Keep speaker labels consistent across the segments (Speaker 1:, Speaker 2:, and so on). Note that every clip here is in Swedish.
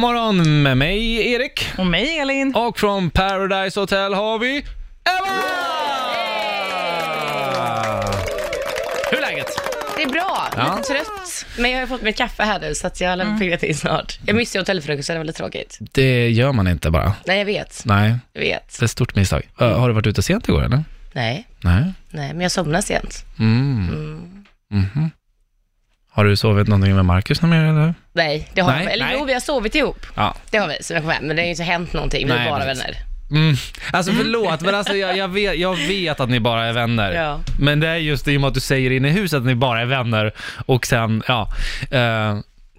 Speaker 1: Powermorgon med mig Erik
Speaker 2: Och mig Elin.
Speaker 1: och från Paradise Hotel har vi Ella! Hur är läget?
Speaker 3: Det är bra,
Speaker 1: Ja.
Speaker 3: lite trött. Men jag har ju fått mitt kaffe här nu så att jag lär
Speaker 2: Mm.
Speaker 3: väl pigga till snart. Jag missade hotellfrukosten, det var lite tråkigt.
Speaker 1: Det gör man inte bara.
Speaker 3: Nej, jag vet.
Speaker 1: Nej,
Speaker 3: Jag vet.
Speaker 1: det är ett stort misstag. Ö, Har du varit ute sent igår eller?
Speaker 3: Nej,
Speaker 1: Nej.
Speaker 3: nej, men jag somnade sent.
Speaker 1: Mm. Mhm. Har du sovit någonting med Marcus någon mer eller?
Speaker 3: Nej, det har
Speaker 1: Nej,
Speaker 3: vi. Eller
Speaker 1: nej.
Speaker 3: jo, vi har sovit ihop.
Speaker 1: Ja.
Speaker 3: Det har vi, som jag kom hem. Men det har ju inte hänt någonting. Vi
Speaker 1: Nej,
Speaker 3: är bara
Speaker 1: precis.
Speaker 3: vänner.
Speaker 1: Mm. Alltså förlåt, men alltså, jag, jag, vet, jag vet att ni bara är vänner.
Speaker 3: Ja.
Speaker 1: Men det är just i och med att du säger in i huset att ni bara är vänner och sen, ja, eh,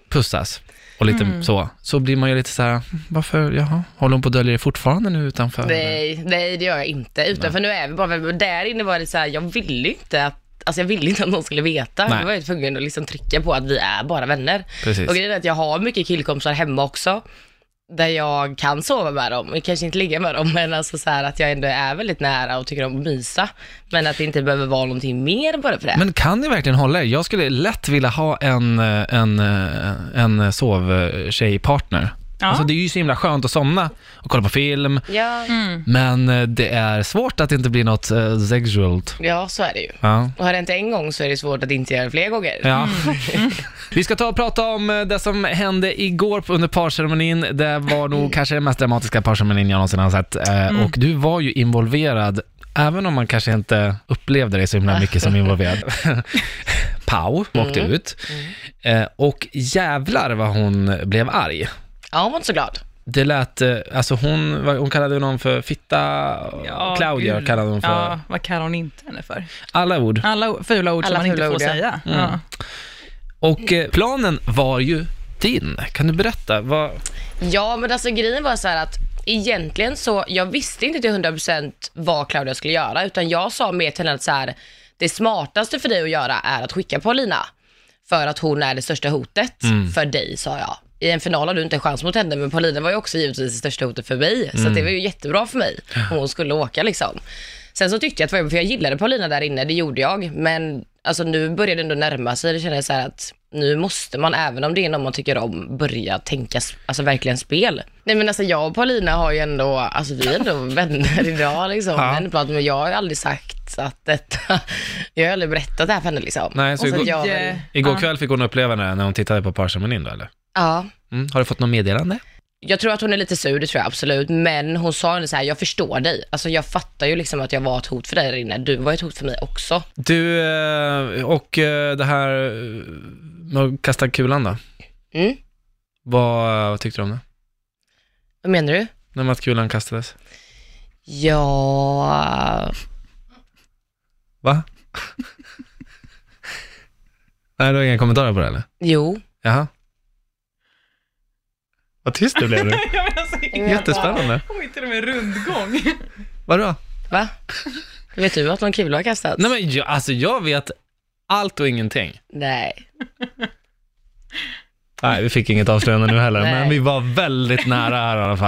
Speaker 1: pussas och lite så. Så blir man ju lite så här, varför, jaha, håller hon på att dölja det fortfarande nu utanför?
Speaker 3: Nej, nej, det gör jag inte. Utanför nu är vi bara vänner. Och Där inne var det så här, jag ville ju inte att Alltså jag ville inte att någon skulle veta.
Speaker 1: Nej.
Speaker 3: Då var jag tvungen att liksom trycka på att vi är bara vänner.
Speaker 1: Precis.
Speaker 3: Och grejen är att jag har mycket killkompisar hemma också. Där jag kan sova med dem, kanske inte ligga med dem, men alltså så här att jag ändå är väldigt nära och tycker om att mysa. Men att det inte behöver vara någonting mer bara för det.
Speaker 1: Men kan ni verkligen hålla er? Jag skulle lätt vilja ha en, eh, en, eh, en sovtjejpartner.
Speaker 2: Ja.
Speaker 1: Alltså det är ju så himla skönt att somna och kolla på film,
Speaker 3: ja,
Speaker 1: men eh, det är svårt att det inte blir något eh, sexualt.
Speaker 3: ja, så är det ju.
Speaker 1: Ja.
Speaker 3: Och har det inte en gång så är det svårt att inte göra det fler gånger.
Speaker 1: Ja.
Speaker 2: Mm.
Speaker 1: Vi ska ta och prata om eh, det som hände igår på- under parceremonin. Det var
Speaker 2: Mm.
Speaker 1: nog kanske den mest dramatiska parceremonin jag någonsin har sett. Eh, Och du var ju involverad, även om man kanske inte upplevde dig så himla mycket som involverad. Pau åkte
Speaker 2: Mm.
Speaker 1: ut. Eh, Och jävlar vad hon blev arg.
Speaker 3: Ja, hon var inte så glad.
Speaker 1: Det lät, eh, alltså hon, vad- hon kallade någon för fitta,
Speaker 2: Ja,
Speaker 1: Claudia
Speaker 2: gud.
Speaker 1: kallade hon för.
Speaker 2: Ja, vad kallar hon inte henne för?
Speaker 1: Alla ord.
Speaker 2: Alla o- fula ord
Speaker 3: Alla
Speaker 2: som man inte
Speaker 3: fula
Speaker 2: får
Speaker 3: ord, ja.
Speaker 2: säga.
Speaker 1: Mm.
Speaker 2: Ja.
Speaker 1: Och eh, planen var ju din. Kan du berätta? Vad...
Speaker 3: Ja, men alltså grejen var så här att egentligen så, jag visste inte till 100% vad Claudia skulle göra, utan jag sa mer till henne att så här, det smartaste för dig att göra är att skicka Paulina. För att hon är det största hotet
Speaker 1: Mm.
Speaker 3: för dig, sa jag. I en final har du inte en chans mot henne, men Paulina var ju också givetvis det största hotet för mig. Så
Speaker 1: Mm.
Speaker 3: att det var ju jättebra för mig om hon skulle åka liksom. Sen så tyckte jag att, för jag gillade Paulina där inne, det gjorde jag. Men alltså nu började det ändå närma sig. Det kändes så här att nu måste man, även om det är någon man tycker om, börja tänka, sp- alltså verkligen spel. Nej men alltså jag och Paulina har ju ändå, alltså vi är ändå vänner idag liksom.
Speaker 1: Ja.
Speaker 3: Men ibland- Men jag har ju aldrig sagt att detta, jag har aldrig berättat det här för henne liksom.
Speaker 1: Nej, så
Speaker 3: Och
Speaker 1: igår-
Speaker 3: att jag,
Speaker 2: Yeah.
Speaker 1: Igår
Speaker 2: Ja.
Speaker 1: kväll fick hon uppleva det när hon tittade på Parceremonin då eller?
Speaker 3: ja.
Speaker 1: Mm. Har du fått något meddelande?
Speaker 3: Jag tror att hon är lite sur, det tror jag absolut. Men hon sa ändå så här, jag förstår dig. Alltså jag fattar ju liksom att jag var ett hot för dig där inne. Du var ett hot för mig också.
Speaker 1: Du, eh, och eh, det här eh, med att kasta kulan då?
Speaker 3: Mm.
Speaker 1: Vad, vad tyckte du om det?
Speaker 3: Vad menar du?
Speaker 1: När man att kulan kastades?
Speaker 3: Ja...
Speaker 1: Va? Nej, du har inga kommentarer på det eller?
Speaker 3: Jo.
Speaker 1: Jaha. Vad tyst du blev nu.
Speaker 2: Jag menar, så,
Speaker 1: Jättespännande.
Speaker 2: hon gick till och med rundgång.
Speaker 1: Vadå?
Speaker 3: Va? Vet du att någon kula har kastats?
Speaker 1: Nej men jag, alltså jag vet allt och ingenting.
Speaker 3: Nej.
Speaker 1: Nej, vi fick inget avslöjande nu heller,
Speaker 3: Nej.
Speaker 1: men vi var väldigt nära här i alla fall.